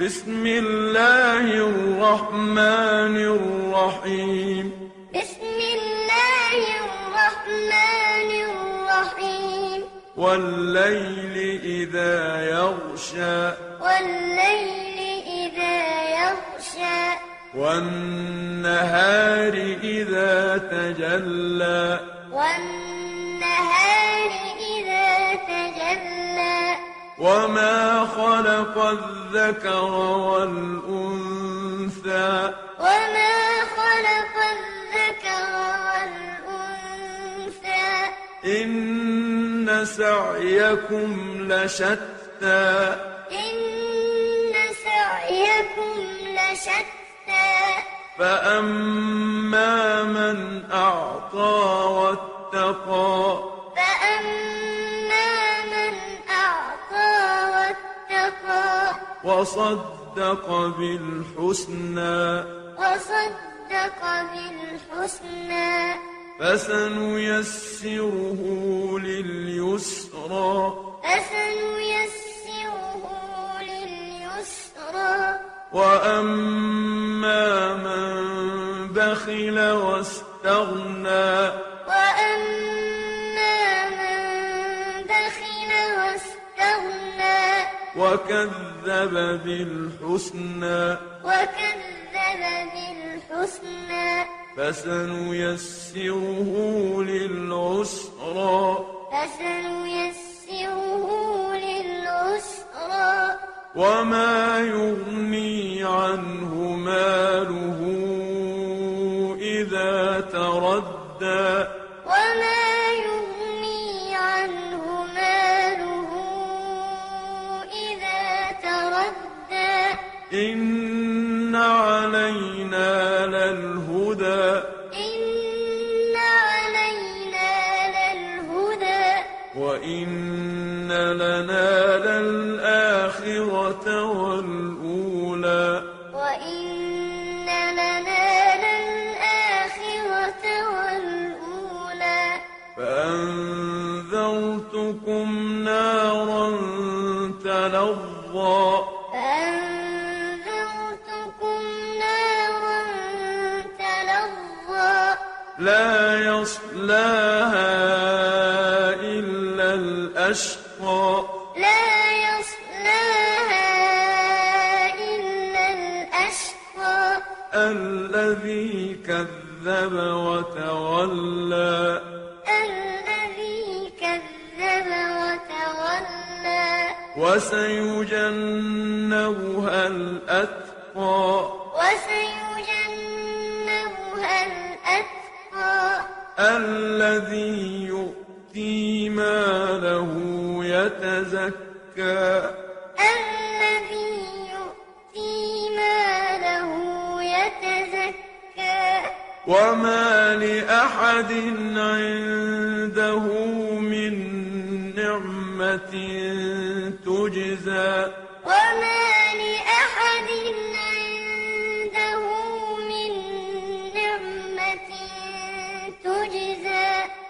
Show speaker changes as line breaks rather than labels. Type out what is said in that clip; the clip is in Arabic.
بسم الله الرحمن الرحيم
بسم الله الرحمن الرحيم
والليل إذا يغشى
والليل إذا يغشى
والنهار إذا تجلى
والنهار إذا تجلى
وما خلق الذكر والأنثى
وما خلق الذكر والأنثى
إن سعيكم لشتى
إن سعيكم لشتى
فأما من أعطى واتقى
فأما من أعطى واتقى
وصدق بالحسنى
وصدق بالحسنى
فسنيسره لليسرى
فسنيسره لليسرى
وأما من بخل واستغنى
وأما من بخل واستغنى
وكذب بالحسنى
وكذب بالحسنى
فسنيسره للعسرى
فسنيسره للعسرى
وما يغني عنه ماله إذا تردى
وما يغني عنه ماله إذا تردى
إن علينا للهدى
إن علينا للهدى
وإن لنا للآخرة والأولى
وإن لنا للآخرة والأولى
فأنذرتكم نارا تلظى
فأنذرتكم نارا تلظى
لا يصلاها إلا الأشقى
لا يصلاها إلا الأشقى
الذي كذب وتولى
الذي كذب وتولى
وسيجنبها الأتقى
وسيجنبها الأتقى
الذي يؤتي ماله يتزكى
الذي يؤتي ماله يتزكى
وما لأحد عنده من نعمة تجزى
وما لأحد عنده من نعمة تجزى